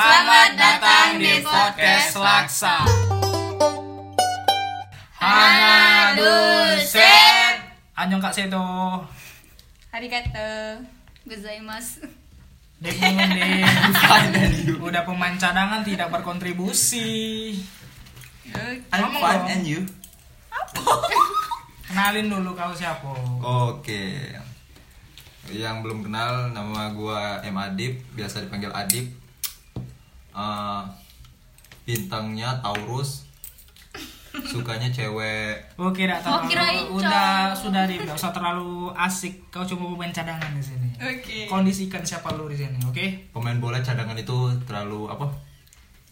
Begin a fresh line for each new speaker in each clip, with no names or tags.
Selamat datang di podcast Laksa. Hana Dusen. Anjong Kak Seto.
Hari kata gozaimasu.
Demo nih. Udah pemain cadangan tidak berkontribusi.
Eh,
I'm
Ngomong
fun
dong.
and you?
Kenalin dulu kau siapa.
Oke. Yang belum kenal nama gua M Adib, biasa dipanggil Adib. Eh, bintangnya Taurus. Sukanya cewek.
Oke, tidak
Oh,
terlalu.
kirain
udah
cowok.
sudah di nggak usah terlalu asik. Kau cuma pemain cadangan di sini.
Oke.
Kondisikan siapa lu di sini, oke?
Pemain bola cadangan itu terlalu apa?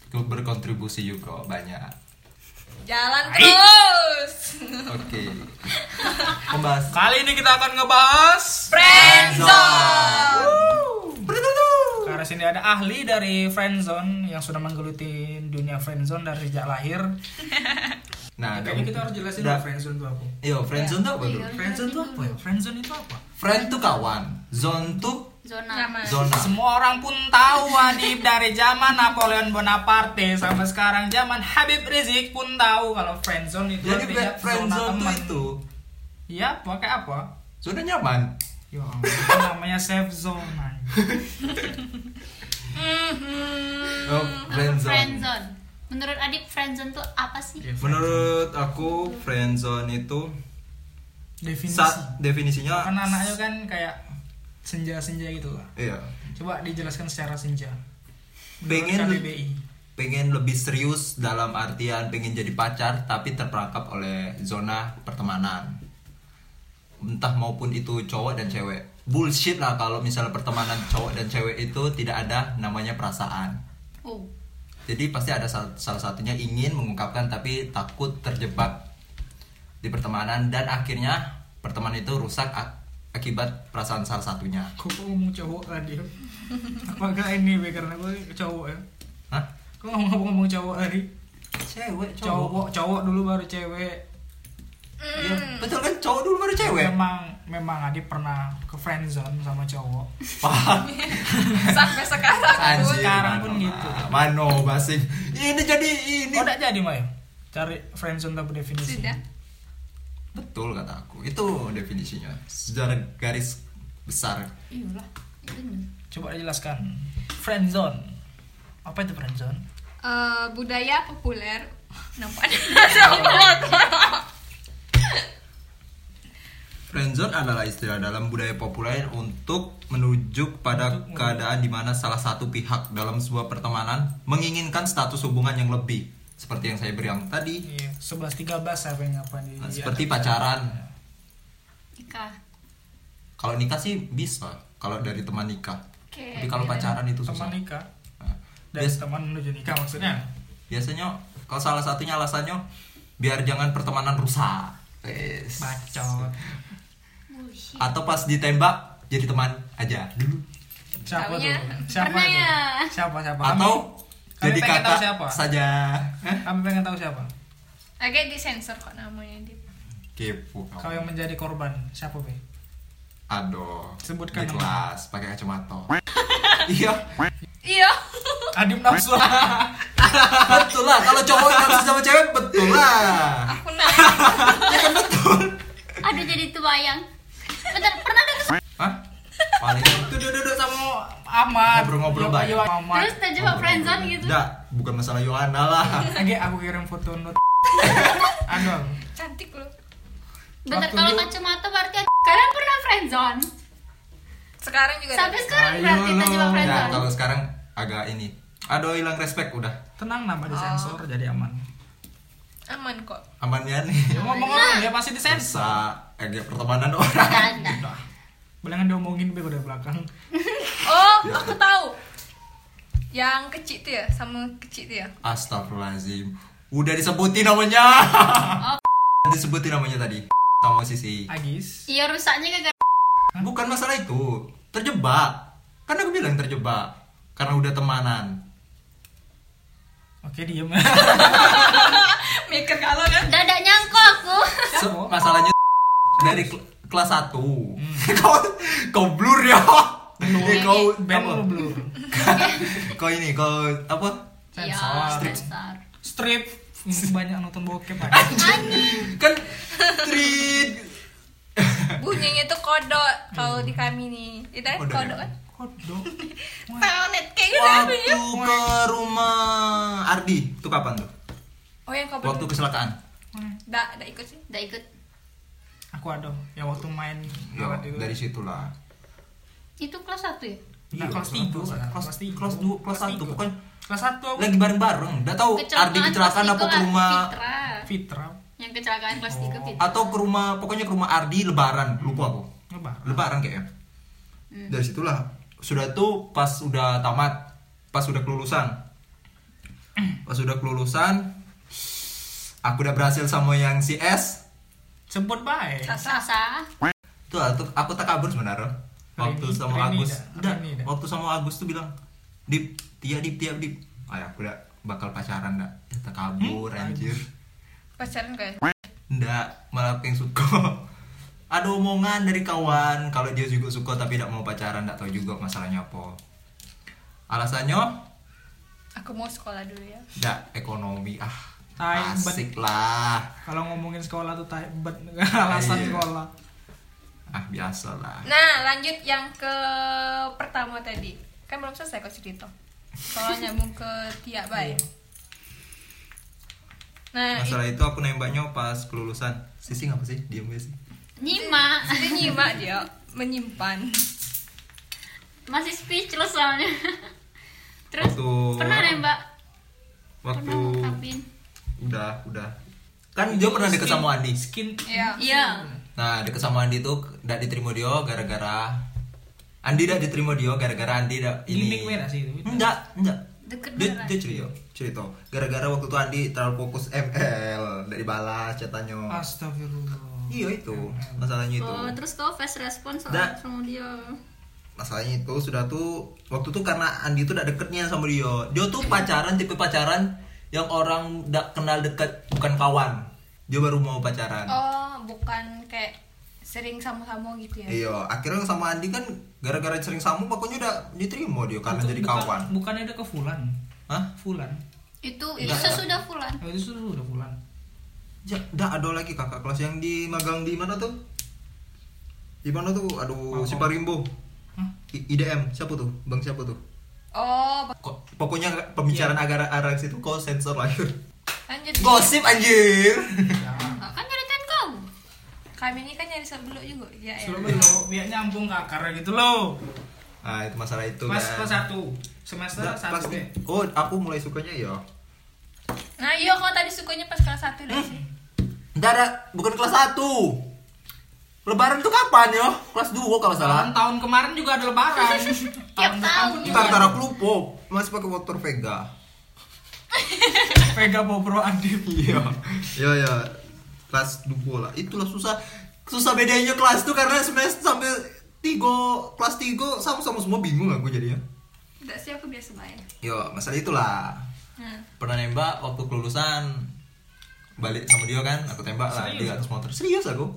berkontribusi juga banyak.
Jalan terus.
Oke. Membahas
Kali ini kita akan ngebahas
Friendzone.
Karena sini ada ahli dari friendzone yang sudah menggeluti dunia friendzone dari sejak lahir.
Nah,
Kayaknya
kamu-
kita harus jelasin dulu
Dah.
Iya. friendzone itu apa.
Yo, friendzone tuh apa dulu?
Friendzone itu apa ya? Friendzone itu apa?
Friend tuh kawan, zone tuh
Nama.
zona.
Semua orang pun tahu Adib dari zaman Napoleon Bonaparte sampai sekarang zaman Habib Rizik pun tahu kalau friendzone itu
Jadi
artinya zona
friendzone tuh
teman.
itu
Iya, pakai apa?
zona nyaman.
Ya, ampun, itu namanya safe zone. anjing.
Mhm.
Oh, friendzone.
friendzone. Menurut Adit friendzone tuh apa sih?
Menurut aku friendzone itu
Definisi.
sa- definisinya
Karena anaknya kan kayak senja-senja gitu lah.
iya
Coba dijelaskan secara senja.
pengen
KBBI.
pengen lebih serius dalam artian pengen jadi pacar tapi terperangkap oleh zona pertemanan. Entah maupun itu cowok dan cewek. Bullshit lah kalau misalnya pertemanan cowok dan cewek itu tidak ada namanya perasaan.
Oh,
Jadi pasti ada sal- salah satunya ingin mengungkapkan tapi takut terjebak di pertemanan dan akhirnya pertemanan itu rusak ak- akibat perasaan salah satunya.
Kok kau ngomong cowok tadi? Apakah ini be karena gue cowok ya?
Hah?
Kok ngomong ngomong cowok tadi?
Cewek,
Cowok, cowok dulu baru cewek.
Iya, betul kan cowok dulu baru cewek.
Memang memang Adi pernah ke friendzone sama cowok.
Paham.
Sampai sekarang pun.
Anjir,
Sekarang
Mano,
pun gitu.
ah, Mano basing. Ini jadi ini.
Oh, enggak jadi, Maya. Cari friendzone tanpa definisi.
Sudah.
Betul kata aku. Itu definisinya. Secara garis besar.
iyalah. Itu nih.
Coba dijelaskan. Friendzone. Apa itu friendzone?
Eh, budaya populer nampak
Friendzone adalah istilah dalam budaya populer untuk menuju pada keadaan di mana salah satu pihak dalam sebuah pertemanan menginginkan status hubungan yang lebih, seperti yang saya bilang tadi,
Iya, 11 13 apa yang apa di
seperti pacaran.
Nikah.
Kalau nikah sih bisa, kalau dari teman nikah.
Oke.
Tapi kalau pacaran itu susah.
teman nikah
Nah,
dan
bias-
teman menuju nikah maksudnya.
biasanya kalau salah satunya alasannya biar jangan pertemanan rusak. Wes.
Bacot.
Bullshit.
Atau pas ditembak jadi teman aja dulu.
Siapa
Taunya.
tuh? Siapa
Pernah
tuh?
ya?
Siapa siapa?
Atau
kami
jadi
pengen tahu
kakak
siapa.
saja. Hah?
Kami pengen tahu siapa?
Agak disensor kok namanya dia.
Kepo
Kau yang menjadi korban. Siapa, Be?
Aduh.
Sebutkan
di
nama.
kelas pakai kacamata. iya,
Iya.
Adim nafsu.
betul lah. Kalau cowok nafsu sama cewek betul lah.
Aku nanya.
Aduh jadi tuayang. Bentar, pernah ada kes-
Hah? Paling
Itu duduk sama Ahmad.
Ngobrol-ngobrol
Yo- yo-
banyak.
Ahmad.
terus terjebak friendzone gitu.
Enggak, bukan masalah Yohana lah.
Lagi aku kirim foto nut. Aduh.
Cantik lu.
Bentar
Waktu
kalau
dia-
kacamata berarti ad- kalian pernah friendzone.
Sekarang juga.
Sampai
ada.
sekarang berarti
Ayo
terjebak
lo.
Nah,
friendzone.
kalau sekarang agak ini. Aduh, hilang respect udah.
Tenang nama disensor
Oh.
jadi aman.
aman kok.
Amannya nih.
Ya, ngomong orang dia pasti disensor.
Bisa agak pertemanan orang.
Enggak, enggak.
Bilangan diomongin Be udah belakang.
Oh, aku tahu. Yang kecil tuh ya, sama kecil tuh ya.
Astagfirullahaladzim. Udah disebutin namanya. disebutin namanya tadi. Sama Sisi.
Agis.
Iya rusaknya gara-gara
Bukan masalah itu. Terjebak. Karena aku bilang terjebak. Karena udah temanan.
Oke, diem.
Mikir kalau kan.
dadak nyangkau aku.
Se- masalahnya dari kel- kelas 1. kau, kau blur ya. Eh, kau
band
apa?
lu blur
kau ini kau apa
Iya,
Sensor.
sensor.
strip Hmm, banyak nonton bokep aja.
kan treat
Bunyinya tuh kodok kalau di kami nih. Itu kan
Kodok ya?
kodok kan.
kodok
Telnet kayak gitu
waktu
bunyinya.
ke rumah Ardi itu kapan tuh
Oh yang kau
waktu
berdua.
kecelakaan
Nggak, nggak ikut sih.
Udah ikut.
aku ada yang waktu main
ya
lewat itu.
dari situlah
Itu kelas 1 ya?
Nah,
Iya,
kelas
kelas
3
satu, kelas-
tiga.
kelas dua, kelas satu,
tiga.
bukan?
kelas 1 aku
lagi bareng bareng nggak tahu Oh, Ardi kecelakaan
kelas gitu.
apa ke
tiga,
rumah Oh,
Fitra.
Fitra
Yang kecelakaan kelas 3 Fitra.
atau ke rumah pokoknya ke rumah Ardi Lebaran lupa aku
ngebar
Lebaran kayaknya dari situlah sudah tuh pas sudah tamat pas sudah kelulusan pas sudah kelulusan aku udah berhasil sama yang si S
sebut baik
Sasa.
tuh aku, aku tak kabur sebenarnya waktu
Rini-
sama
Rini
Agus
dah,
Nggak,
Rini dah.
waktu sama Agus tuh bilang dip tiap dip tiap dip ayah aku udah bakal pacaran dah ya, tak kabur
Hmm?
anjir
Pacaran kan.
Nggak, malah aku yang suka. Ada omongan dari kawan kalau dia juga suka tapi tidak mau pacaran, tidak tahu juga masalahnya apa. Alasannya,
Aku mau sekolah dulu ya.
tidak ekonomi ah.
Tai,
Asik lah.
kalau ngomongin sekolah tuh tai bet alasan
Iya.
sekolah
Ah, biasa lah.
Nah, lanjut yang ke pertama tadi. Kan belum selesai kok cerita. Kalau nyambung ke Tia Bay. Nah, itu
Iya. Masalah itu aku nembaknya pas kelulusan. Sisi ngapa sih? Diam ya sih.
Nyimak.
itu nyimak dia, menyimpan.
Masih speechless soalnya. Terus
Waktu-
pernah nembak?
Oh, Waktu Gitu.
Pernah ngungkapin?
udah, udah. Kan dia pernah deket sama Andi.
skin
Iya.
Iya.
Nah, deket sama Andi tuh tidak diterima dia gara-gara Andi tidak diterima dia gara-gara Andi tidak ini.
gimmick merah sih itu
Enggak, enggak.
Deket
dia,
beneran.
dia cerita cerita gara-gara waktu itu Andi terlalu fokus ML dari balas chatanya
Oh. astagfirullah
iya itu masalahnya itu
Oh, terus kau fast response
Nggak.
sama sama dia.
masalahnya itu sudah tuh waktu itu karena Andi tuh udah deketnya sama dia dia tuh pacaran tipe pacaran yang orang gak kenal deket bukan kawan dia baru mau pacaran
Oh, bukan kayak sering sama-sama gitu ya.
iya akhirnya sama Andi kan gara-gara sering sama pokoknya udah diterima dia karena
Itu
jadi
bukan-
kawan
bukannya ada ke Fulan
Hah?
Fulan
Itu
Nggak.
sesudah pulang.
Oh, itu sudah sudah Fulan
Ya, dah ada lagi kakak kelas yang di magang di mana tuh? Di mana tuh?
Bangkok.
Aduh, si Parimbo.
Hah?
I- IDM siapa tuh? Bang siapa tuh?
Oh, ba-
Kok, pokoknya pembicaraan
Iya.
agar arah situ kok sensor lagi.
lanjut.
Gosip anjir.
Ya,
Ah, Kan nyeritain kau.
Kami ini kan nyari sebelum juga. Ya, ya.
Sudah belum, biar nyambung ke akar gitu loh.
Nah, itu masalah itu
Mas
kan.
kelas satu, semester
Nggak,
satu
pasti.
deh.
Oh, aku mulai sukanya ya.
Nah, iya kau tadi sukanya pas kelas 1 lah
Hmm.
sih.
Nggak ada, bukan kelas 1. Lebaran tuh kapan ya? Kelas 2 kalau salah.
Tahun kemarin juga ada lebaran. tahun depan pun juga.
Entar entar aku lupa. Masih pakai motor Vega.
Vega Bobro Adib.
Iya, iya, iya. Kelas 2 lah. Itulah susah. Susah bedanya kelas tuh karena semester sampai tiga kelas tiga sama-sama semua bingung aku jadinya.
Tidak sih aku biasa main.
Yo, masalah itulah.
Hmm.
Nah,
Pernah nembak waktu kelulusan balik sama dia kan, aku tembak lah di atas motor. Serius aku.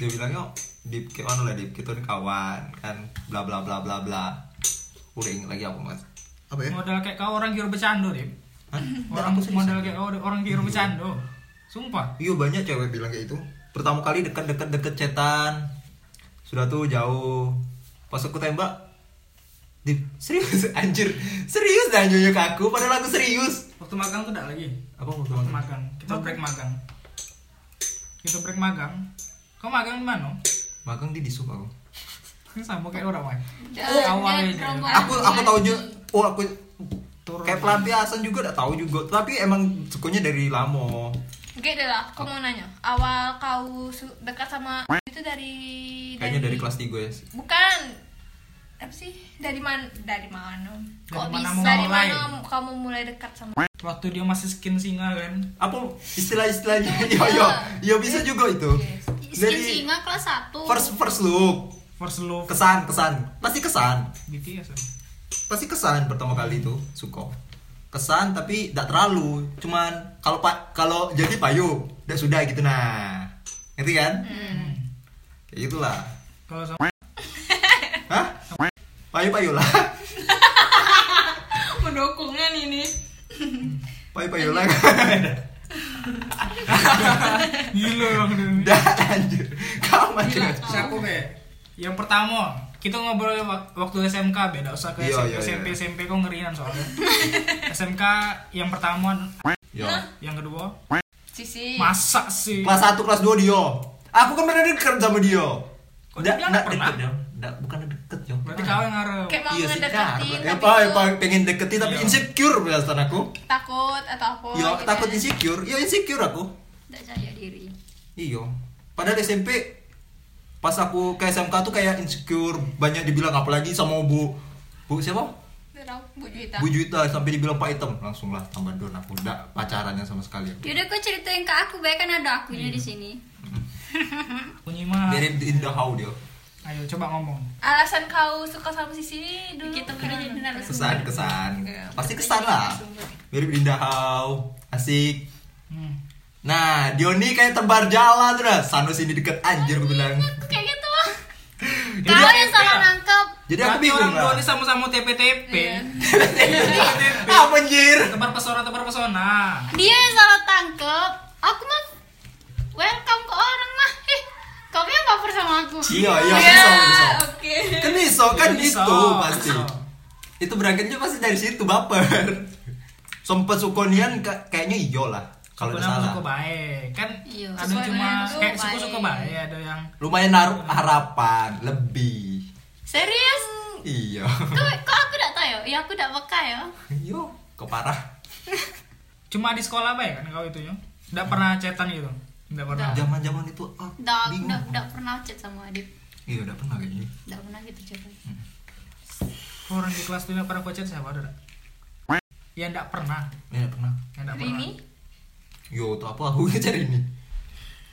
Dia bilangnya, di kayak mana lah Dip? kita ini kawan kan, bla bla bla bla bla. Udah inget lagi apa mas? Apa ya?
Modal kayak kau orang kira bercanda deh.
Hah?
Orang modal kayak kau orang kira bercanda. Sumpah.
Iya banyak cewek bilang kayak itu. Pertama kali dekat-dekat deket cetan. Sudah tuh jauh. Pas aku tembak. Di, serius anjir. Serius dah nyonya ke aku padahal aku serius.
Waktu magang tuh enggak lagi.
Apa waktu
Waktu
makan?
magang, kita break magang. Kita break magang. Kau magang di mana?
Magang di disup aku.
Sama kayak orang lain.
Eh,
Oh,
Dan-
Awal
ya.
dan
aja.
rombongan
Aku aku
lagi.
taunya oh aku
Turun.
kayak pelampiasan juga udah tahu juga tapi emang sukanya dari lamo
Oke deh lah, aku mau nanya. Awal kau su- dekat sama itu dari
kayaknya dari kelas 3 ya
Bukan. Apa sih? Dari mana? Dari mana? Kok
mana
bisa?
mau
Dari
mulai?
mana kamu mulai dekat sama?
Waktu dia masih skin singa kan.
apa istilah-istilahnya yo
iya.
yo yo bisa juga itu
Skin
dari
singa kelas 1.
first first look
First love
kesan kesan pasti kesan
BTS. ya?
pasti kesan pertama kali itu suka kesan tapi tidak terlalu cuman kalau pak kalau jadi payu udah sudah gitu nah
Hmm.
ngerti kan kayak gitulah
Kalau sama
hah payu-payulah.
mendukungnya nih nih
Payu-payulah.
Gila bang Demi.
Udah anjir. Kamu anjir.
Siapa be? Yang pertama, kita ngobrol wak- waktu SMK beda usah ke
Iya,
SMP,
iya, iya.
SMP SMP kok ngerian soalnya. SMK yang pertama,
Yo.
yang kedua
sisi
masa sih?
Kelas 1 kelas 2 dia. Aku kan pernah deket sama dia.
Kok dia nggak pernah?
deket, Nggak, bukan deket, yo.
Berarti kau yang ngarep.
kayak mau
Iya sih,
ngedeketin
Kak.
tapi
Apa,
tuh
apa, pengen deketin tapi
Iya.
insecure perasaan aku.
takut atau apa
Yo,
gitu
Iya, takut
ya.
insecure. Yo, insecure aku.
Tidak percaya diri.
Iya. Padahal SMP pas aku ke SMK tuh kayak insecure, banyak dibilang apalagi sama Bu Bu siapa?
Nggak tahu, Bu Juwita
Bu Juwita sampai dibilang Pak Item. Langsung lah tambah down aku enggak pacarannya sama sekali.
Yaudah kau ceritain ke aku, baik kan ada akunya
Iya.
di sini.
Bunyi mah.
Dari in the how dia.
Ayo coba ngomong.
alasan kau suka sama sisi ini dulu
Kita pernah jadi narasumber.
Kesan kesan.
Iya,
Pasti kesan lah. Mirip in the how. Asik.
Hmm.
Nah, Dioni kayak tebar jalan terus. Sanus ini deket anjir gue bilang.
Aku kayak gitu lah.
Jadi
Kau
aku
yang
TP,
salah
ya?
nangkep.
Jadi aku
Berarti
bingung
orang dua
lah.
ini sama-sama TP-TP.
Iya.
TP-TP.
Apa anjir?
Tebar pesona, tebar pesona.
Dia yang salah tangkep. Aku mah welcome ke orang mah. Eh, kau yang baper sama aku.
Iya, iya,
Ya,
bisa, bisa.
oke
Kan iso, kan
Iya, iso.
itu pasti.
Iso.
Itu berangkatnya pasti dari situ baper. Sempet sukonian ka- kayaknya iyo lah kalau nggak
Suku nama
salah.
suku baik. Kan
Iya,
ada
suku
cuma
nama suku
kayak suku-suku
baik.
baik, Iya, ada yang
Lumayan naruh harapan lebih.
Serius?
Iya.
Kau, kok aku tidak tahu ya? Ya aku tidak peka ya.
Iyo, keparah.
cuma di sekolah baik kan kau itu ya. Enggak pernah cetan gitu. Enggak pernah.
Zaman-zaman itu ah,
Tidak, aku
bingung.
tidak, tidak pernah chat sama Adit.
Iya, udah pernah kayaknya.
Tidak pernah gitu cerita.
Orang di kelas tuh yang pernah kau chat siapa ada? nggak? Ya enggak pernah.
Iya, udah pernah.
Ya, nggak pernah.
ini
Yo, tuh apa aku ngejar ini?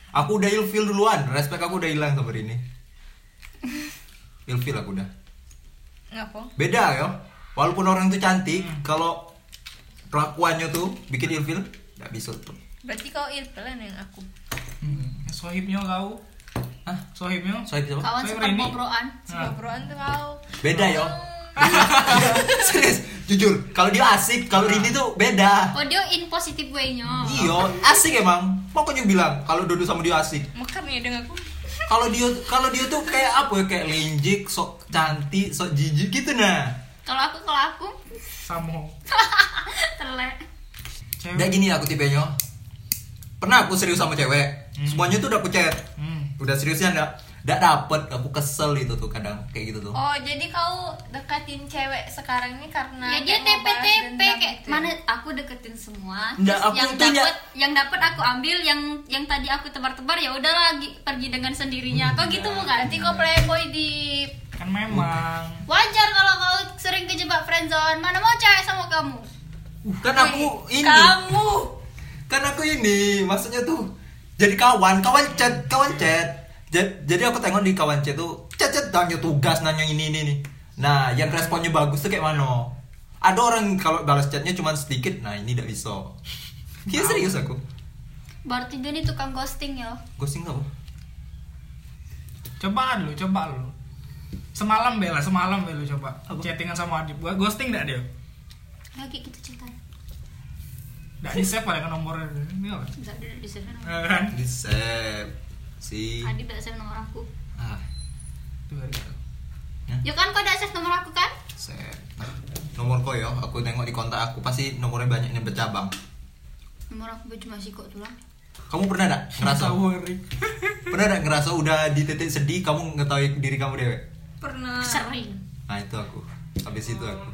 Aku udah ilfil duluan, respect aku udah hilang sama ini. Ilfil aku udah.
ngapa
Beda yo. Walaupun orang itu cantik, kalau kelakuannya tuh bikin ilfil, nggak bisa tuh.
berarti kau ilpelan yang aku
Hmm. Sohibnya kau.
Hah?
Sohibnya.
Soalnya bisa apa?
Kawan
Saya
sempat
Rini.
ngobrolan.
Nah.
ngobrolan tuh kau
Beda yo. Serius, jujur. Kalau dia asik, kalau ini tuh beda.
Oh dia in positive way-nya.
Iyo, asik emang. Pokoknya bilang kalau Dodo sama dia asik.
mekar nih dengan aku
Kalau dia kalau dia tuh kayak apa ya? Kayak linjik, sok cantik, sok jijik gitu nah.
Kalau aku kalau aku
Samo.
telek.
Cewek.
Udah gini aku tipenya Pernah aku serius sama cewek Semuanya tuh udah aku chat
Hmm.
Udah seriusnya enggak Enggak dapet Aku kesel itu tuh kadang Kayak gitu tuh
oh jadi kau deketin cewek sekarang ini karena
ya dia
Nah, kayak mau
TP
balas
TP
dendam
kayak
gitu ya?
mana aku deketin semua.
Nggak,
Terus
aku
yang
tuh nya-
dapat yang dapat aku ambil yang yang tadi aku tebar-tebar ya udah lagi pergi dengan sendirinya. Kau gitu bukan?
nanti kau playboy di
Kan memang.
Wajar kalau kau sering kejebak friendzone. Mana mau cewek sama kamu?
Kan aku ini
kamu
Kan aku ini Maksudnya tuh Jadi kawan Kawan chat Kawan chat Ja- Jadi aku tengok di kawan chat tuh Chat-chat nanya tugas Nanya ini ini nih Nah yang responnya bagus tuh kayak mana Ada orang kalau balas chatnya cuma sedikit Nah ini enggak bisa Iya serius aku
Berarti dia ini tukang ghosting ya.
Ghosting apa?
Coba lu, coba lu. Semalam Bella, semalam Bella coba
Apa?
chattingan sama Adib. Gua ghosting enggak dia?
Lagi kita cinta.
Enggak di save ada kan nomornya. Ini apa?
Bisa duduk di sana.
Eh, Kan.
Di save Si
Adi tidak save nomor aku.
Ah,
Tuh, ada.
Ya kan kau tidak save nomor aku kan?
set. Nah, nomor kau ya, aku tengok di kontak aku pasti nomornya banyak yang bercabang.
Nomor aku cuma sih kok tulang.
Kamu pernah gak ngerasa?
Sorry.
pernah gak ngerasa udah di titik sedih kamu ngetahui diri kamu dewe?
pernah
Sering.
Nah itu aku. Habis itu aku.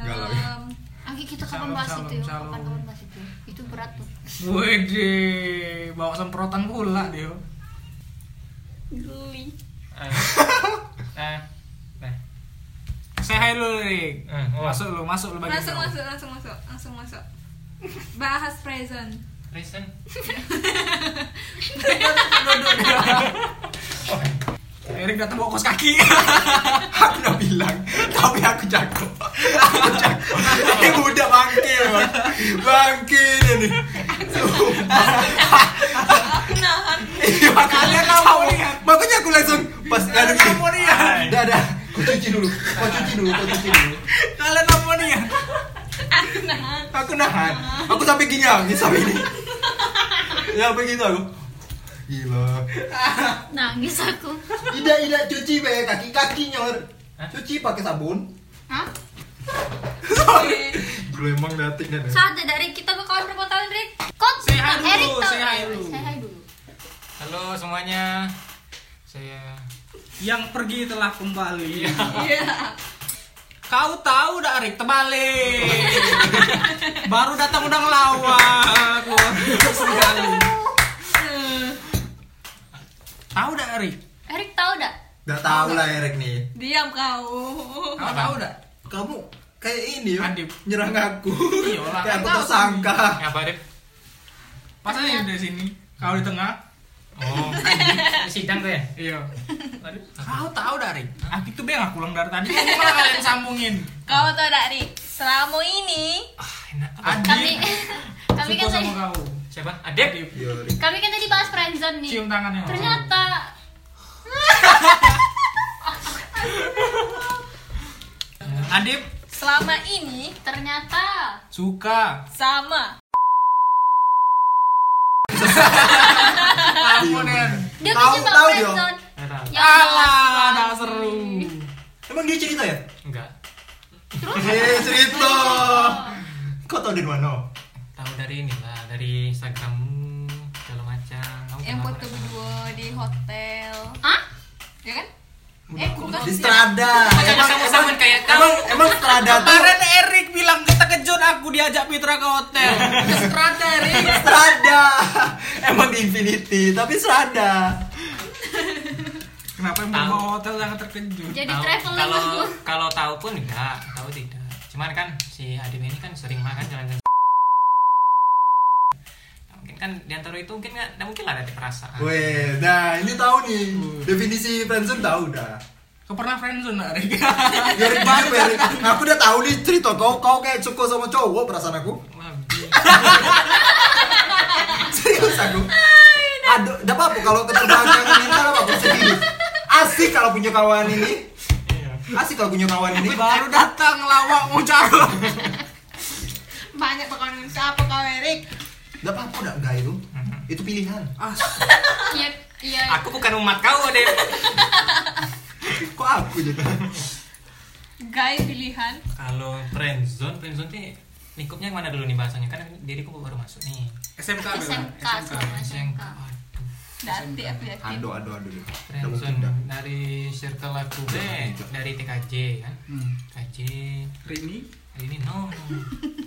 Galau.
Em,
ya?
Oke kita
Shalom,
kapan bahas
shalom,
itu ya?
shalom.
Kapan kapan bahas itu? Itu berat tuh.
Wede, bawa semprotan pula dia.
Geli.
Eh, eh, eh,
Say hi lu, Rik.
eh, oh,
Masuk lu, masuk lu bagian
langsung
kau.
masuk langsung masuk langsung masuk bahas present
Kristen.
Erik datang bawa kos kaki.
aku udah bilang, tapi aku jago. Aku jago. Ini udah bangke, Bang. Bangke dia nih.
aku nahan
Iya, makanya kamu. Makanya aku langsung pas ada
Kamu nih, ya.
Dadah. Aku cuci dulu kau cuci dulu kau cuci dulu kalian apa nih ya aku nahan aku sampai ginyang ini sampai ini ya sampai gitu aku gila
Nangis aku.
tidak tidak cuci be kaki kaki nyor cuci pakai sabun
Hah?
Sorry.
Gue emang
ya?
dating kan
Saatnya dari kita ke kawan berapa tahun, Rick? Kok
Say hi dulu,
Erick tau.
say hi dulu.
Say hi dulu.
Halo semuanya. Saya
Yang pergi telah kembali.
Iya.
Kau tahu dah Arik terbalik. Baru datang udah ngelawak. Wah, sekali. Tahu dah Arik?
Erick tahu dah.
Gak tau lah Erik nih
Diam kau.
Kau tahu dah?
Kamu kayak ini ya
Adib.
Nyerang aku
Iya lah,
Kayak
kan
aku
tahu.
tersangka
ngapa Dip?
Pas aja dari sini. Kau di tengah.
Oh, sidang tuh ya?
Iya.
Waduh.
Kau tahu dah Arik? Aku tuh bengak pulang dari tadi. Kamu malah kalian sambungin.
Kau tau tak Rik? Selama ini
Ah, enak. Apa?
Kami
Adit.
kami
Suka
kan tadi
sama kau.
Siapa? Adep?
Adit.
Iya Erik
kami kan tadi bahas friendzone nih.
Cium tangannya.
Ternyata
Adip
selama ini
ternyata
suka.
sama.
Ampunan.
dia tuh
Tahu,
coba
tahu dia.
friendzone.
Enak.
Ya,
Alah,
jelas
dah seru.
lagi.
Emang dia cerita ya?
Enggak.
Terus
Eh cerita Kau tau dari mana?
Tahu dari inilah, dari Instagrammu segala macam. Kamu
Yang
kenapa?
foto berdua di hotel.
Hah?
Ya kan? Eh, bukan
Di
sih.
Strada Emang,
sama-sama kayak kau.
emang, emang Strada tuh
Kemarin Erik bilang kita kejut aku diajak Mitra ke hotel. Ke Strata Erik.
Strada Emang di Infinity Tapi Strada
Kenapa yang
Tahu.
mau hotel sangat terkejut?
Jadi
Tahu-
traveling
kalau
bosku.
kalau tahu pun enggak, tahu tidak. Cuman kan si Adip ini kan sering makan jalan-jalan. Nah, mungkin kan di antara itu mungkin nggak, nggak mungkin lah ada perasaan.
Weh, nah ini tahu nih definisi friendzone tahu dah.
Kau pernah friendzone nggak, Erik?
Ya, Rick, gimana, ya, Rick? aku udah tahu nih cerita kau kau kayak suka sama cowok perasaan aku.
Wabi.
Serius aku. Aduh, enggak apa-apa kalau keterbelakangan mental apa aku serius. Asik kalau punya kawan ini.
Iya.
Asik kalau punya kawan ini.
Baru datang lawak mau calon.
Banyak bakalan siapa kau Erik?
Enggak apa-apa enggak enggak itu. Itu pilihan.
Iya, iya.
Aku bukan umat kau deh.
Kok aku jadi.
Guy pilihan.
kalau friendzone, friendzone nih lingkupnya yang mana dulu nih bahasanya? Kan diriku baru masuk nih.
SMK bilang.
SMK sama SMK.
Dati aku ya. yakin.
Aduh, aduh, aduh. aduh. Enggak mungkin
Friendzone
dah.
dari circle aku deh, dari TKJ kan.
Hmm.
TKJ
Rini
hari ini no, no.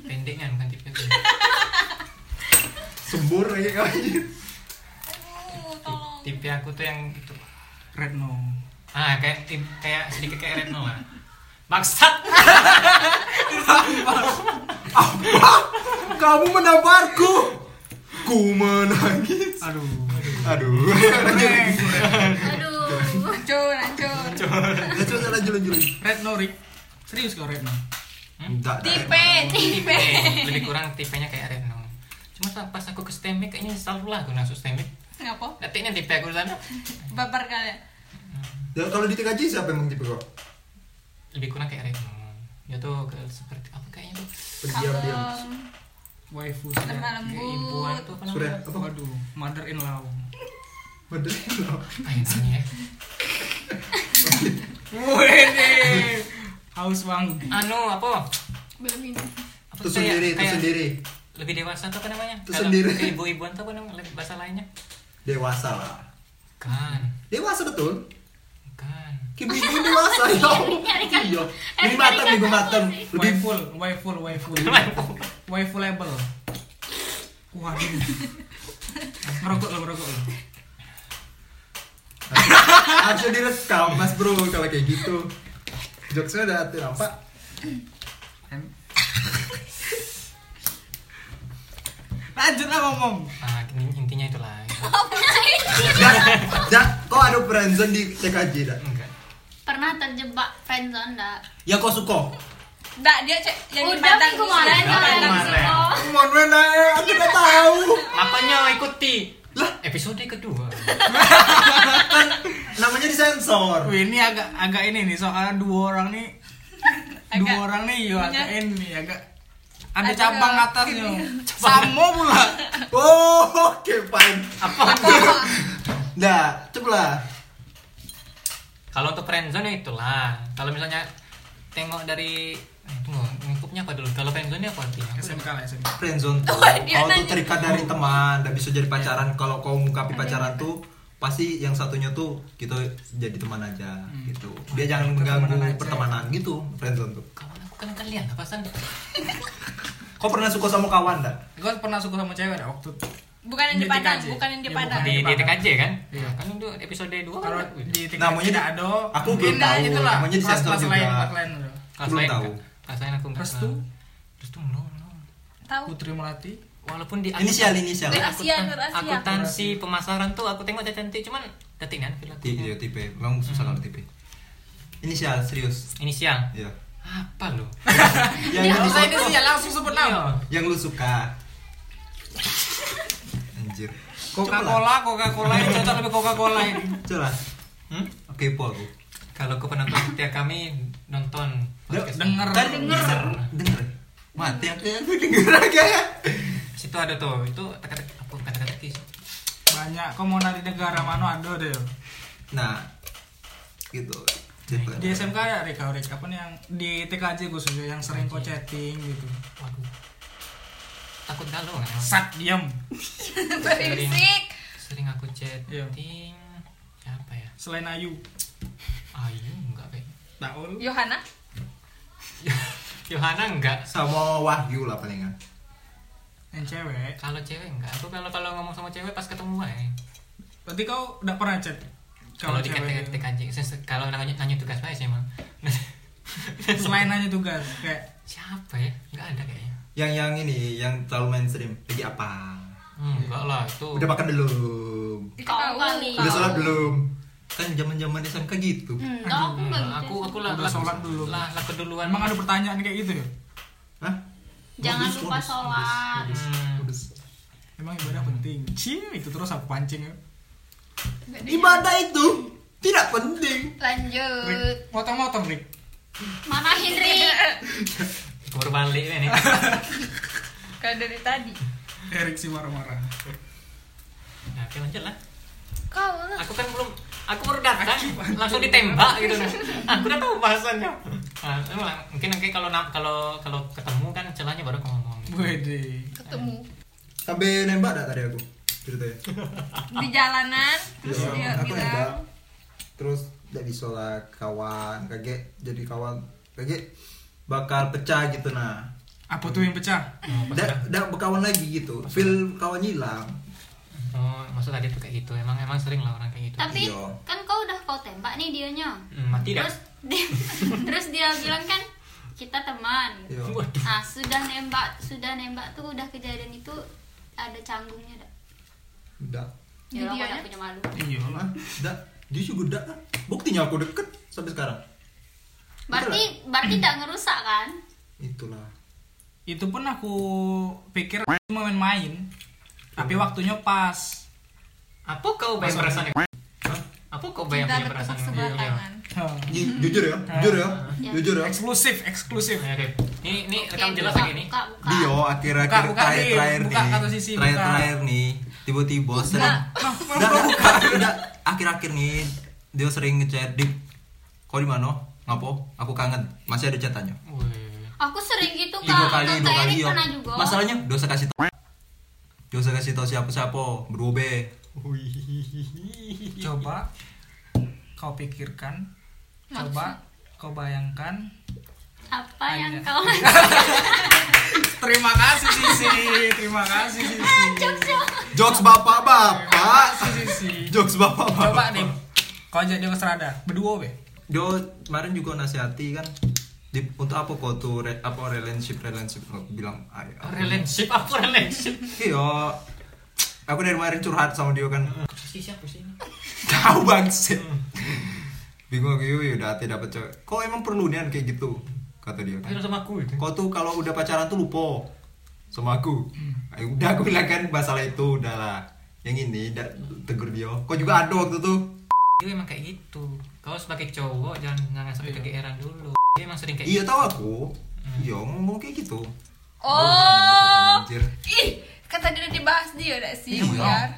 pendeknya bukan tipe itu.
Sembur aja kau.
Aduh, tolong.
Tipe aku tuh yang itu.
Retno.
Ah, kayak tim kayak sedikit kayak Retno lah. Bangsat.
Apa? Kamu menamparku. Ku menangis.
Aduh.
Aduh.
Aduh.
Hancur, hancur.
Ya, coba lanjut lanjut. lanjut.
Retno Rik. Serius kau Retno?
Enggak.
Tipe, tipe.
Eh, lebih kurang tipenya kayak Retno. Cuma sa- pas aku ke STEMIC kayaknya selalu lah aku masuk STEMIC.
Ngapa?
Detiknya tipe aku di sana
Baper kalian.
Ya, kalau di TKJ siapa emang tipe kok?
lebih kurang kayak Retno. Ya tuh ke- seperti apa kayaknya tuh
Pendiam diam.
Kalem.
Waifu.
Lemah
sudah.
lembut.
keibuan tuh apa
Sudah
namanya?
apa?
Waduh, mother in law.
Bener.
Kayak namanya ya.
Wede. Haus wangi.
Anu apa?
Belum minum.
Apa
Itu
tuh kayak-
sendiri, itu
kayak
sendiri.
Lebih dewasa tuh apa namanya?
Itu
Kalau
sendiri.
ke Ibu-ibuan tuh apa namanya? Lebih Bahasa lainnya?
Dewasa lah.
Kan,
Dewasa betul.
kan.
Kibu ibu dewasa ya. Iya. Ini matang, ini matang. Lebih
Waiful, waiful, waiful. Waifu label. Waduh. Ngerokok lo, ngerokok lo.
harusnya direkam mas bro kalau kayak gitu. Jokesnya udah hati nampak.
Lanjutlah ngomong.
Ah, in- intinya itulah.
Dan, dan, kok ada friendzone di TKJ dah?
Enggak.
Pernah terjebak friendzone enggak?
Ya kok suko?
Nggak, dia cek yang di
Udah
Padang.
minggu kemarin
Udah,
kan
kemarin.
Zeko.
Mohon mana? Aku udah tahu.
Makanya ikuti
Lah.
episode kedua.
namanya disensor.
Wih, ini agak agak ini nih soalnya dua orang nih dua
Agak
orang nih yo agak
punya-
ini agak ada
Agak
cabang atasnya
ini.
sama pula
Oh, oke fine.
Apa?
Nah, cobalah.
Kalau untuk friendzone ya itulah. Kalau misalnya tengok dari eh, tunggu, ngikupnya apa dulu? Kalau friendzone apa sih? Aku-
SMK lah SMK
friendzone tuh
Wah, Oh, dia
kalau tuh
nanya.
terikat dari teman dan bisa jadi pacaran kalau kau mengungkapi pacaran tuh pasti yang satunya tuh kita jadi teman aja gitu dia jangan
Hmm.
mengganggu
Pertemanan aja.
pertemanan gitu friendzone tuh
Kawan aku kan kalian apa san?
kau pernah suka sama kawan dah
gue pernah suka sama cewek dah waktu itu.
Bukan yang di
Mitik
Padang,
aja.
bukan yang di
Ya,
Padang.
Di di TKJ kan?
Iya.
Kan untuk episode 2
kalau
kan?
di tingkat
Namanya
tidak
di-
ada
aku belum
pindah
tahu,
itulah
namanya di
kelas
sensor
kelas
juga.
lain kelas lain udah.
Kelas
Belum
lain
tahu.
enggak? Kelas lain aku enggak.
Restu?
Restu belum, belum.
Tahu?
Putri Melati
Walaupun di
inisial inisial
Eh, Asia,
akutan-
Nur Asia.
akuntansi pemasaran tuh aku tengok dia cantik cuman detik kan feel aku.
Ti- iya tipe memang susah kalau tipe inisial serius
Inisial.
ya
Apa lo?
yang
Kalau
lu,
saya ini sih ya langsung sebut nama
Iya.
yang lu suka anjir
Coca Cola Coca Cola ini cocok lebih Coca Cola ini
celah hmm? kepo aku
Kalau ke penonton setia kami nonton podcast
Denger.
kan
Denger.
denger mati aku ya. aku ya. denger aja
situ ada tuh itu teka-teki apa bukan teka-teki sih.
banyak kau mau dari negara mana ada deh
Nah, gitu. Gitu.
di SMK ya Rika Rika apa nih yang di TKJ khususnya yang sering kau chatting gitu
waduh takut galau kan
sat diam
Berisik.
sering aku
Iya.
chatting apa ya
selain Ayu
Ayu enggak kayak
Taul
Yohana?
Yohana enggak
Sama Wahyu lah kan. palingan.
yang cewek
kalau cewek enggak aku kalau kalau ngomong sama cewek pas ketemu aja
berarti kau udah pernah chat
kalau di
cewek ya.
ketek aja Ses- kalau nanya nanya tugas aja sih emang
selain nanya tugas kayak
siapa ya enggak ada kayaknya
Yang yang ini, yang terlalu mainstream. Lagi apa?
Hmm, enggak lah itu
Udah makan belum?
Kita tahu.
kali.
Udah sholat belum? Kan zaman-zaman SMK gitu.
Enggak, aku enggak gitu.
Nah, aku aku lah
Udah
lah-
sholat belum?
lah lah keduluan
emang ada pertanyaan kayak gitu ya
Hah?
Jangan
Modus,
lupa
modus,
sholat. Hmm.
modus, modus.
emang ibadah penting cie itu terus aku pancing ya
Ibadah itu tidak penting.
Lanjut.
Rik motong-motong Rik
Mana Henry?
baru balik ini
Kalau dari tadi.
Erik sih marah-marah
nah oke lanjut lah
Kau lah.
aku kan belum aku baru datang langsung ditembak gitu nah. aku udah tahu bahasannya nah, emang lah, mungkin nanti kalau na- kalau kalau ketemu kan celahnya baru aku ngomong
Wede
Ketemu.
Sampai nembak dah tadi aku ceritanya.
Di jalanan. Terus
Iya,
dia
aku nembak.
bilang.
Terus jadi sholat kawan, kaget jadi kawan, kaget bakal pecah gitu nah.
apa tuh yang pecah
oh, pas udah-
Tidak berkawan lagi gitu. Feel kawan hilang.
oh, maksud tadi tuh kayak gitu emang emang sering lah orang kayak gitu
Tapi
Iya.
kan kau udah kau tembak nih dianya.
Hmm, mati dah
Terus dia, terus dia bilang kan kita teman. gitu.
Yo.
waduh
Nah, sudah nembak, sudah nembak tuh udah kejadian itu ada canggungnya dah.
Udah.
Ya aku
Dianya?
udah punya malu.
iya
Hah? Dah. Dia juga dah. Buktinya aku deket sampai sekarang.
Berarti berarti tidak ngerusak kan?
Itulah.
itu pun aku pikir cuma main-main tapi waktunya pas
apa kau bayang perasaan Hah? apa kau
Kita
Iya,
bayang punya
ada
perasaan Iya.
tepuk sebelah tangan.
Hah.
Ju- jujur ya, jujur ya,
Hmm. Ya.
jujur ya.
eksklusif eksklusif
Iya. Nah, oke. ini ini
Oke,
rekam jelas
buka,
lagi nih
Buka, buka.
Dio akhir-akhir
Buka, buka,
terakhir
Dim.
terakhir
Buka
nih,
satu sisi,
terakhir
buka.
terakhir nih, tiba-tiba sering,
Nah,
Dah, dah, udah akhir-akhir nih dia sering ngechat dip, kau di mana? Ngapo? Aku kangen. Masih ada chatannya.
Wih.
Aku sering gitu
Ih,
kak.
dua kali,
Kakak
dua kali iya.
Erik
yo.
pernah juga.
Masalahnya dosa kasih tau. Dosa kasih tau siapa-siapa, berdua be.
coba kau pikirkan coba kau bayangkan
apa
Ada.
yang kau
terima kasih sisi terima kasih sisi
Jokes bapak-bapak.
sisi
Jokes bapak-bapak.
coba nih kau jadi serada berdua be
Dia kemarin juga nasihati kan di, untuk apa kau tuh re- apa relationship relationship Aku bilang "Ay, aku-
relationship apa relationship
iya aku dari kemarin curhat sama dia kan
si siapa sih ini
tahu bangset bingung aku "Yui, udah hati dapat cewek kau emang perlu nian kayak gitu kata dia
Kira
kan
sama aku itu
kau tuh kalau udah pacaran tuh lupa sama aku Ay, udah aku bilang kan masalah itu udahlah yang ini da- tegur dia kau juga ada waktu tuh
Iya emang kayak gitu. Kau sebagai cowok jangan jangan sampai kegeeran dulu. Dia emang sering kayak gitu.
Iya tahu aku. Iya ngomong kayak gitu.
Oh.
Anjir.
Ih, kan tadi udah dibahas dia udah sih,
Iya,
biar.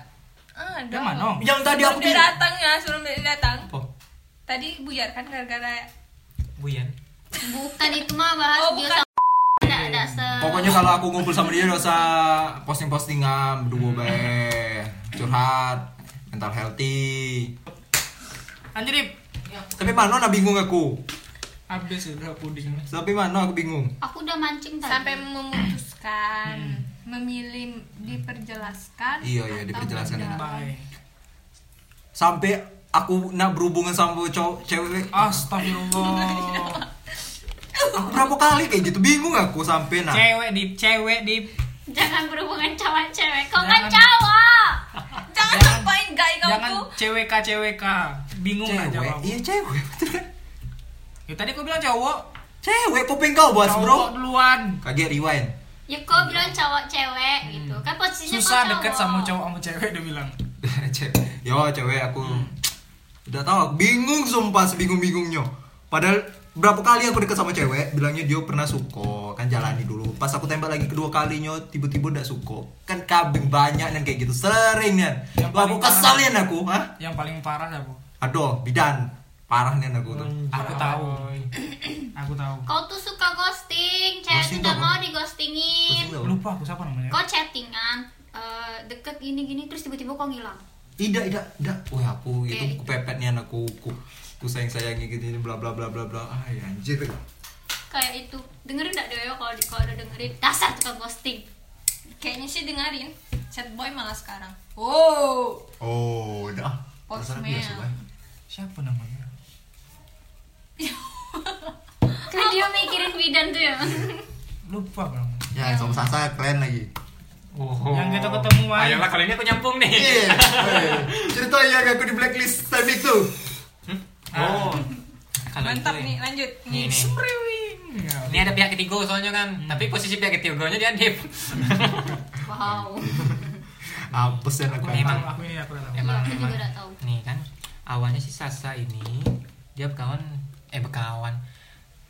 Ah, ada.
Emang, Nong?
Yang tadi
Sebelum
aku
dia
bilang.
datang ya, sebelum dia datang.
Apa?
Tadi buyar kan gara-gara
Buyan.
bukan itu mah bahas
Oh,
dia
bukan.
sama enggak enggak se
Pokoknya kalau aku ngumpul sama dia dosa posting-postingan berdua be curhat mental healthy.
Anjir, Ip.
Tapi mana nah bingung aku.
habis udah puding.
Tapi mana aku bingung.
aku udah mancing tadi
sampai memutuskan, memilih diperjelaskan.
Iya, iya,
atau
diperjelaskan
tidak.
enak.
Bye.
Sampai aku nak berhubungan sama cowok cewek.
Ah. Astagfirullah.
Aku berapa kali kayak gitu bingung aku sampai nah.
Cewek di cewek di
jangan berhubungan cowok cewek kau kan
Jangan.
cowok
Jangan
Jangan-
sampain guys kamu
jangan
tuh.
cewek cwk bingung nggak
Cewek.
jawab
Iya cewek. betul kan?
ya, tadi kau bilang cowok
Cewek kuping kau buat
cowok
bro.
duluan
Kaget rewind.
ya kau bilang cowok cewek gitu kan posisinya kau
Hmm. susah
cowok.
deket sama cowok sama cewek dia bilang
Cewek. Yo cewek aku udah tahu aku bingung sumpah sebingung bingungnya. Padahal berapa kali aku deket sama cewek bilangnya dia pernah suko kan jalani dulu pas aku tembak lagi kedua kalinya tiba-tiba udah suko kan kabin banyak dan kayak gitu sering dan
Yang
Wah,
paling
aku kesal
parah.
Nian, aku Hah?
yang paling parah ya bu
aduh bidan parah Nian aku tuh
Hmm.
aku tahu aku tahu
kau tuh suka ghosting cewek
Ghosting
tidak
apa?
mau digostingin
Pusing tau.
lupa aku siapa namanya
kau chattingan eh, deket gini gini terus tiba-tiba kau ngilang
tidak tidak tidak wah aku itu
Kayak-
aku pepet Nian aku ku, ku sayang sayangi gini bla bla bla bla bla ay anjir
kayak itu dengerin nggak Dewa kalau di- kalau udah dengerin dasar tukang ghosting
Kayaknya sih dengerin. Chat boy malah sekarang. Wow.
oh udah
Postman.
Dasar biasa, Bay.
siapa namanya
kan dia mikirin bidan tuh ya
lupa aku namanya
Ya, sama Sasa keren lagi.
Oh.
Yang kita ketemu, Wan.
Ayolah kali ini aku nyampung nih.
Iya. Cerita yang aku di blacklist time itu.
Oh. Kalau
Mantap
itu, ya.
nih, lanjut. Nih.
Nih, nih.
Semrewing Ya,
Ini ada pihak ketiga soalnya kan. Tapi posisi pihak ketiganya dia dip.
wow
Apes ya
aku
aku
Memang.
memang aku ini aku udah tahu
Iya,
Emang,
aku juga
emang.
nggak tahu.
Nih kan, awalnya si Sasa ini dia berkawan, eh berkawan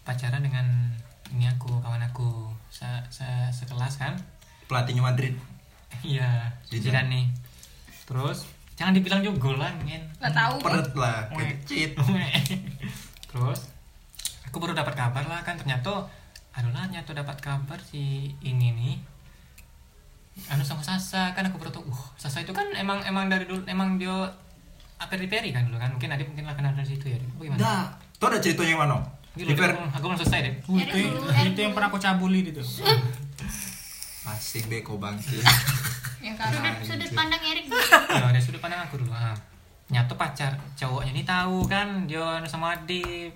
pacaran dengan ini aku kawan aku se, se- sekelas kan?
Pelatihnya Madrid.
Iya, jiran nih. Terus jangan dibilang juga golan, men.
Gak tahu.
Peret lah,
Weh.
kecil.
Terus aku baru dapat kabar lah kan ternyata adulah nyatu dapat kabar si ini nih anu sama Sasa kan aku baru tahu uh, Sasa itu kan emang emang dari dulu emang dia peri peri kan dulu kan mungkin Adit mungkin lah kenal dari situ ya Adit. Apa gimana?
Dah. Tuh ada ceritanya yang mana?
Gila,
Di
Adit,
per
aku, belum- aku belum selesai deh.
Wih, itu,
Dari dulu, dari
itu yang pernah aku cabuli gitu
asing beko Nah, gitu. bangki.
Yang kalah.
Nah,
sudut, sudut pandang Erik
Ya, dari sudut pandang aku dulu. Ah. Nyatu pacar cowoknya ini tahu kan dia anu sama Adit.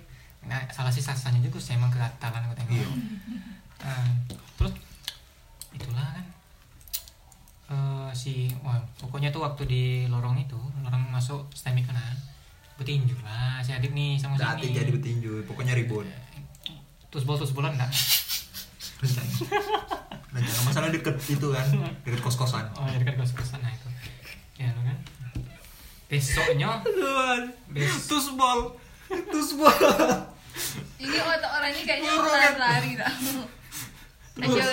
Nah, salah si Sasanya juga sih emang kegatalan aku tengok.
Iya.
Eh, terus itulah kan Eh, si wah, pokoknya tuh waktu di lorong itu lorong masuk stemik kan petinju lah si adik nih sama si
Udah hati
ini
jadi petinju, pokoknya ribut.
terus bol terus bolan enggak
Rencana. Rencana masalah deket itu kan, deket kos-kosan.
oh jadi kan kos kosan nah itu ya lo kan besoknya bes
Tus bol. Tus bol.
Ini otak orang ini kayaknya orang lari dah. Lanjut.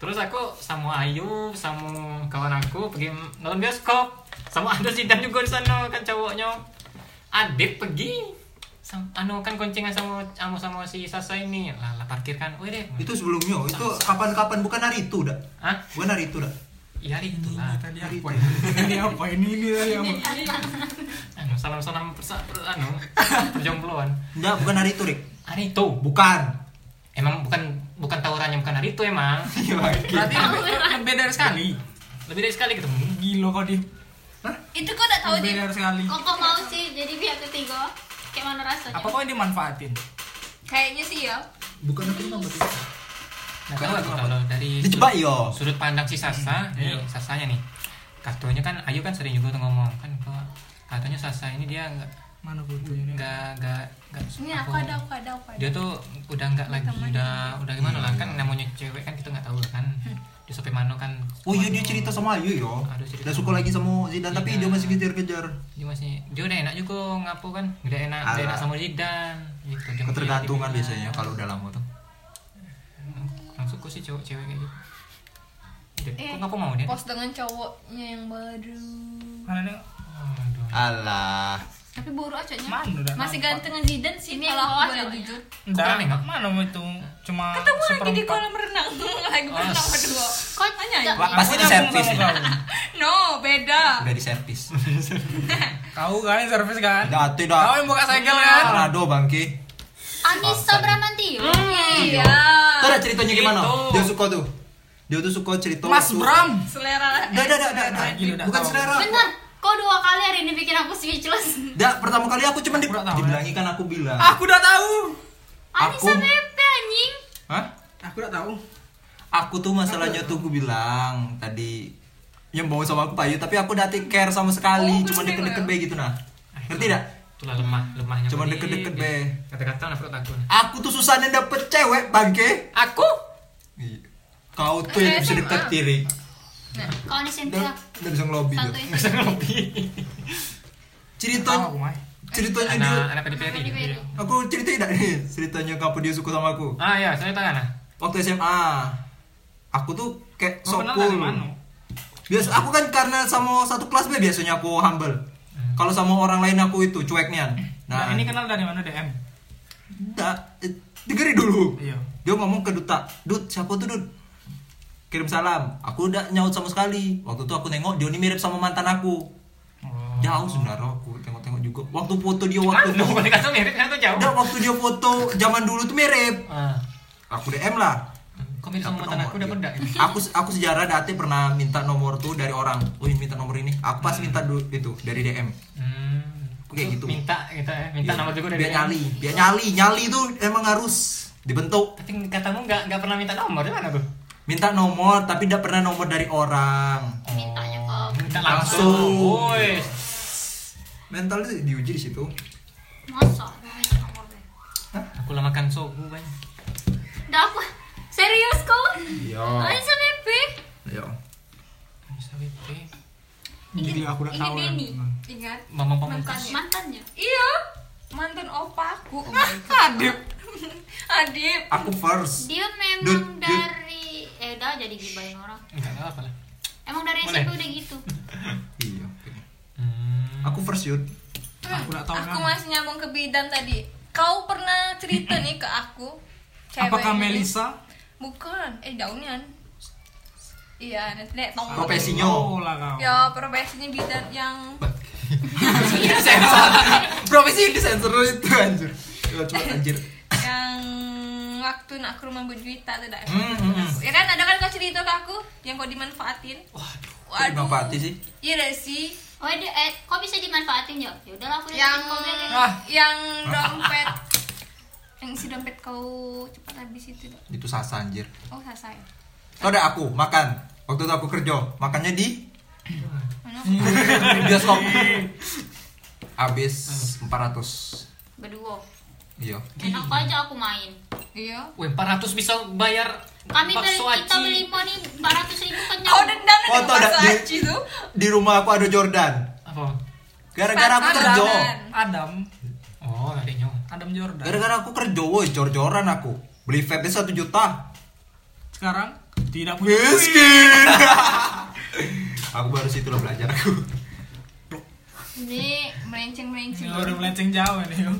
terus aku sama Ayu sama kawan aku pergi nonton bioskop sama ada sidan juga di sana kan cowoknya Adit pergi sama, anu kan koncengan sama sama, sama si Sasa ini lah, lah parkir kan wih deh
Itu sebelumnya, itu kapan-kapan bukan hari itu dah.
Hah?
Bukan hari itu dah.
Iya itu lah.
tadi apa ini tadi apa ini ini tadi apa
Anu salam-salam persa per, anu perjombloan.
Enggak, bukan hari itu, Rik.
Hari itu bu-
Bukan.
emang bukan bukan tawurannya bukan hari itu emang.
Iya, Bangki.
berarti lebih, lebih dari sekali
Lebih dari sekali ketemu.
gila kau di
Itu kok gak tahu
lebih
di
dari sekali
kok kok mau sih jadi pihak ketiga kayak mana rasanya
apa kau yang dimanfaatin
Kayaknya sih ya.
Bukan aku nama
Nah, kalau aku kalau dari
Dijebak yo.
sudut pandang si Sasa,
Hmm,
Iya.
nih, Sasanya nih. Katanya kan Ayu kan sering juga tuh ngomong kan bahwa katanya Sasa ini dia nggak
mana fotonya
nggak nggak nggak
Ini aku
apa-
ada, aku ada, aku ada.
dia tuh
Iya.
Hmm.
udah nggak lagi udah udah gimana lah kan namanya cewek kan kita nggak tahu lah kan dia sampai mana kan
Oh iya dia cerita sama Ayu yo.
Aduh, cerita
Udah suka lagi sama Zidan
Iya.
tapi dia
Zidane.
masih kejar-kejar.
dia masih dia udah enak juga ngapu kan udah enak udah
Alah.
enak sama Zidan gitu dia
Ketergantungan
mau jadi
biasanya kalau udah lama tuh.
langsung kok sih cowok cewek kayak gitu Udah,
Eh,
kok ngapu mau dia
Pos dengan cowoknya yang baru.
Mana nih?
Aduh.
Alah.
Tapi boru aja nya.
Mana udah
Masih
nampak?
gantengan Zidane sih
Ini yang ya,
kalau
bawah
aku boleh
ceweknya.
jujur.
Enggak,
Kurang, enggak?
mana mau itu cuma
Ketemu lagi di
seperempat. Oh.
kolam renang. lagi berenang berdua. Kau tanya ya?
Wah, pasti di
Aku nyambung
servis
sama
ini.
No,
Ah.
beda.
Udah di servis.
Kau kan yang servis kan?
Tidak, tidak.
Kau yang buka segel kan?
Aduh bangki.
Anissa Bramantio.
Iya.
Tuh ada ceritanya gimana?
Itu.
Dia suka tuh. Dia tuh suka cerita
Mas
waktu-
Bram.
Selera.
Dah, dah, dah, dah, dah.
Gila, dah
Bukan
tahu.
selera.
Bentar, kau dua kali hari ini bikin aku speechless.
Dah, pertama kali aku cuman di...
Udah tahu, ya. Ah.
dibilangi kan aku bilang.
Aku udah tahu.
Anissa
Aku-
Pepe anjing.
Hah?
Aku udah tahu.
Aku tuh masalahnya tuh aku bilang tadi yang bawa sama aku Payu tapi aku udah take care sama sekali
Oh,
cuma
bener,
deket-deket
ya?
be gitu nah.
Ah, itu-
Ngerti tidak?
itulah lemah lemahnya
Cuma
Budi.
deket-deket be.
kata-kata nah perut aku
Aku tuh susahnya dapet cewek bangke.
aku
Iya. Kau tuh
Eh,
yang bisa
SMA.
deket tiri.
Kau ini Cynthia.
Udah udah bisa ngelobi
Satu
tuh.
itu.
Tahu
Cerita
aku mah.
ceritanya dia
anak anak pediperi
pediperi.
Aku cerita tidak nih ceritanya kapan dia suka sama aku.
ah ya saya tangan ah
Waktu SMA. Aku tuh kayak
Kau
sok
kenal dari
cool.
mana?
Biasa aku kan karena sama satu kelas B biasanya aku humble. Kalau sama orang lain aku itu cueknya.
Nah,
Nah,
Hmm. ini kenal dari mana DM?
enggak eh, dengerin dulu.
Iya.
Dia ngomong ke duta, "Dut, siapa tuh, Dut?" Kirim salam. Aku udah nyaut sama sekali. Waktu itu aku nengok dia ini mirip sama mantan aku.
Oh.
Jauh sebenarnya aku tengok-tengok juga. Waktu foto dia waktu
Waktu
itu.
mau balik kasur mirip kan tuh jauh.
Enggak, waktu dia foto zaman dulu tuh mirip.
Ah.
Aku DM lah.
Kok mirip
Dapet
sama mantan
nomor
aku udah
dia.
beda ini.
Aku aku sejarah Dati pernah minta nomor tuh dari orang. Wih, minta nomor ini. Aku pas minta du- itu dari DM.
Hmm.
Aku kayak gitu.
Minta kita ya, minta
Iya.
nomor juga dari
biar
dia.
nyali biar nyali nyali itu emang harus dibentuk
Tapi katamu nggak nggak pernah minta nomor di mana tuh?
minta nomor tapi tidak pernah nomor dari orang
Mintanya kau.
Minta
Langsung.
langsung. Woi.
mental itu diuji di situ
Masa Gak ada nomornya.
Aku lah makan sogu bang.
Dah aku serius kau.
iya
Anissa Pepe.
iya
Bisa WP.
Jadi aku udah
Ini
tahu.
Denny.
kan.
Ingat
Mama pamungkas.
mantannya.
ya. Mantannya.
Iya. Mantan opaku.
Oh
Adib. Adib.
aku first
Dia
Dut,
memang
Dut.
dari eh udah jadi gibahin orang.
Enggak apa lah.
Emang dari
Boleh.
SMP udah gitu.
iya oke.
Hmm.
aku first yud
Aku udah tahu.
Aku
kan.
masih nyambung ke bidan tadi. Kau pernah cerita nih ke aku. cewek
Apakah
ini.
Melisa?
Bukan. Eh daunian. Iya, nanti deh tong.
Profesinya.
Oh lah kau.
Ya, profesinya bidan yang
profesi di sensor itu anjir ya, cuma anjir
yang waktu nak ke rumah Bu Juwita tuh dah.
Hmm, hmm, hmm.
Ya kan ada kan kau cerita ke aku yang kau dimanfaatin.
Kok dimanfaati sih?
Iya dah sih.
Oh, dia, eh, kok bisa dimanfaatin ya? Ya udahlah aku udah
yang
bikin kau beda.
Ah.
yang dompet yang isi dompet kau cepat habis itu dok.
itu sasa anjir
oh selesai
kau ada aku makan waktu itu aku kerja makannya di
mana
bioskop habis 400
Berdua.
iya
Enak aja aku main.
iya
Wih, 400 bisa bayar
Kami beli,
bakso
kita
aci.
beli mau nih 400 ribu kenyang.
kau dendam
Oh,
dengan
tau dah,
bakso
dia-
aci tuh
di rumah aku ada Jordan
Apa?
gara-gara aku
Pas
kerja
Jordan.
Adam,
Oh, adiknya.
Adam Jordan.
gara-gara aku kerja woi jor-joran aku beli vape satu juta
Sekarang tidak punya duit.
miskin aku baru situ lah belajar aku
ini melenceng melenceng
Ya, udah melenceng jauh nih. yo.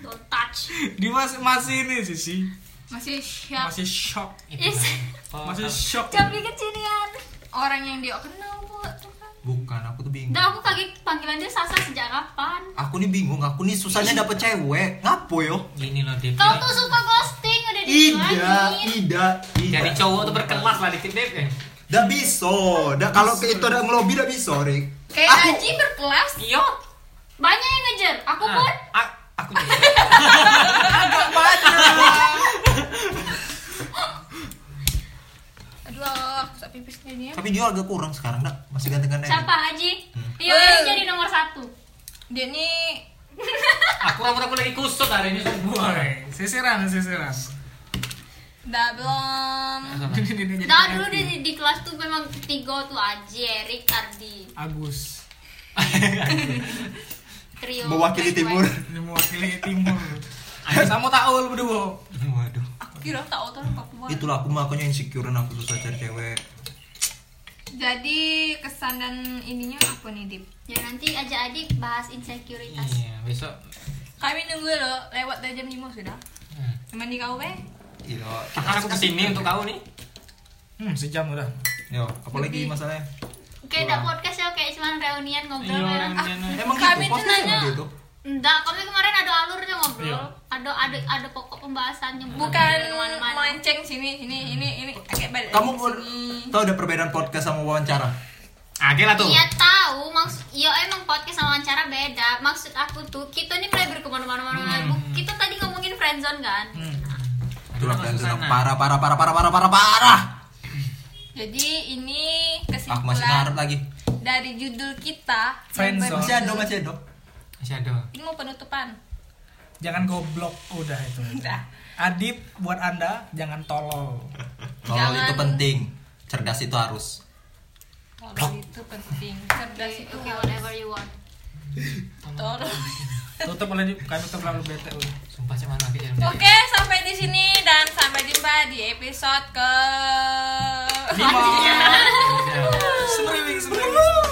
Don't touch.
Dia masih masih ini sih sih.
masih siap
Masih shock.
Itu kan.
Is-
lah.
Masih shock.
tapi kecilian orang yang dia kenal bu tuh kan
bukan aku tuh bingung
Udah aku kaget panggilan dia Sasa sejak kapan?
aku nih bingung aku nih susahnya dapet cewek ngapo yo
Gini loh dia.
Kau tuh suka ghosting udah
Iya. Ida,
dibilangin.
Ida, Ida.
Jadi cowok tuh berkelas lah dikit deh. eh.
Dah bisa. Dah kalau ke itu ada ngelobi dah bisa, Rik.
kayak
Aku-
aji Eh, berkelas
Iya.
Banyak yang ngejar. Aku
Ah,
pun
a- aku juga.
aduh aku sampai pipisnya dia
Tapi dia agak kurang sekarang, dah. Masih ganteng-ganteng.
siapa Haji? Iya,
Eh.
yang jadi nomor satu.
dia nih
Aku rambut aku lagi kusut hari ini
Nah.
semua.
Boy, sisiran, sisiran.
Dah belum.
Sama.
Nah dulu di, di kelas tuh memang tiga tuh aja Erik Tardi
Agus
trio
Mewakili
Black
timur.
White.
mewakili timur sama taul berdua
Waduh.
Aku kira tak otor Papua.
Itulah aku makanya insecure aku susah cari cewek.
Jadi kesan dan ininya apa nih, Dip?
Ya nanti aja adik bahas insekuritas
Iya, besok.
Kami nunggu lo lewat dari jam 5 sudah.
Hmm.
Cuman di KUB.
Iya. kita-
Akan aku kesini untuk kau nih.
hmm sejam udah
Yo, apalagi
Lebih-
masalahnya?
Kayak udah podcast ya, kayak cuman reunian ngobrol
Iya,
bareng
Ah,
Ah,
reunian.
Emang
Kami
gitu,
tuh
podcast
nanya-
emang gitu.
Enggak, kami kemarin ada alurnya ngobrol
Iya.
Ada ada ada pokok pembahasannya
Bukan
kemana-mana.
melenceng sini, ini, ini, ini. Kayak balik
Kamu
lagi
pun-
sini.
tahu ada perbedaan podcast sama wawancara?
Oke lah tuh.
Iya tahu, maksud ya emang podcast sama wawancara beda. Maksud aku tuh kita nih mulai berkemana-mana. Bu,
Hmm.
Kita tadi ngomongin friendzone kan.
Itulah
Sama
kan
Susana.
parah parah parah parah parah parah parah.
Jadi ini
Ah masih ngarep
kesimpulan
lagi.
dari judul kita yang
Friendzone.
Masih ada
berjudul-
masih ada.
Masih ada.
Ini mau penutupan.
jangan goblok udah itu
Udah.
Adib buat anda jangan tolol
Kalau
Jangan.
itu penting, cerdas itu harus.
Kalau Oh, itu penting. Cerdas itu
Okay, whatever you want.
Tolong.
tutup oleh Adib kami terlalu bete udah
Sumpah cuman lagi dalam
Oke, sampai di sini dan sampai jumpa di episode ke
lima
Iya.
Iya.
Semeriwing, semeriwing, semeriwing.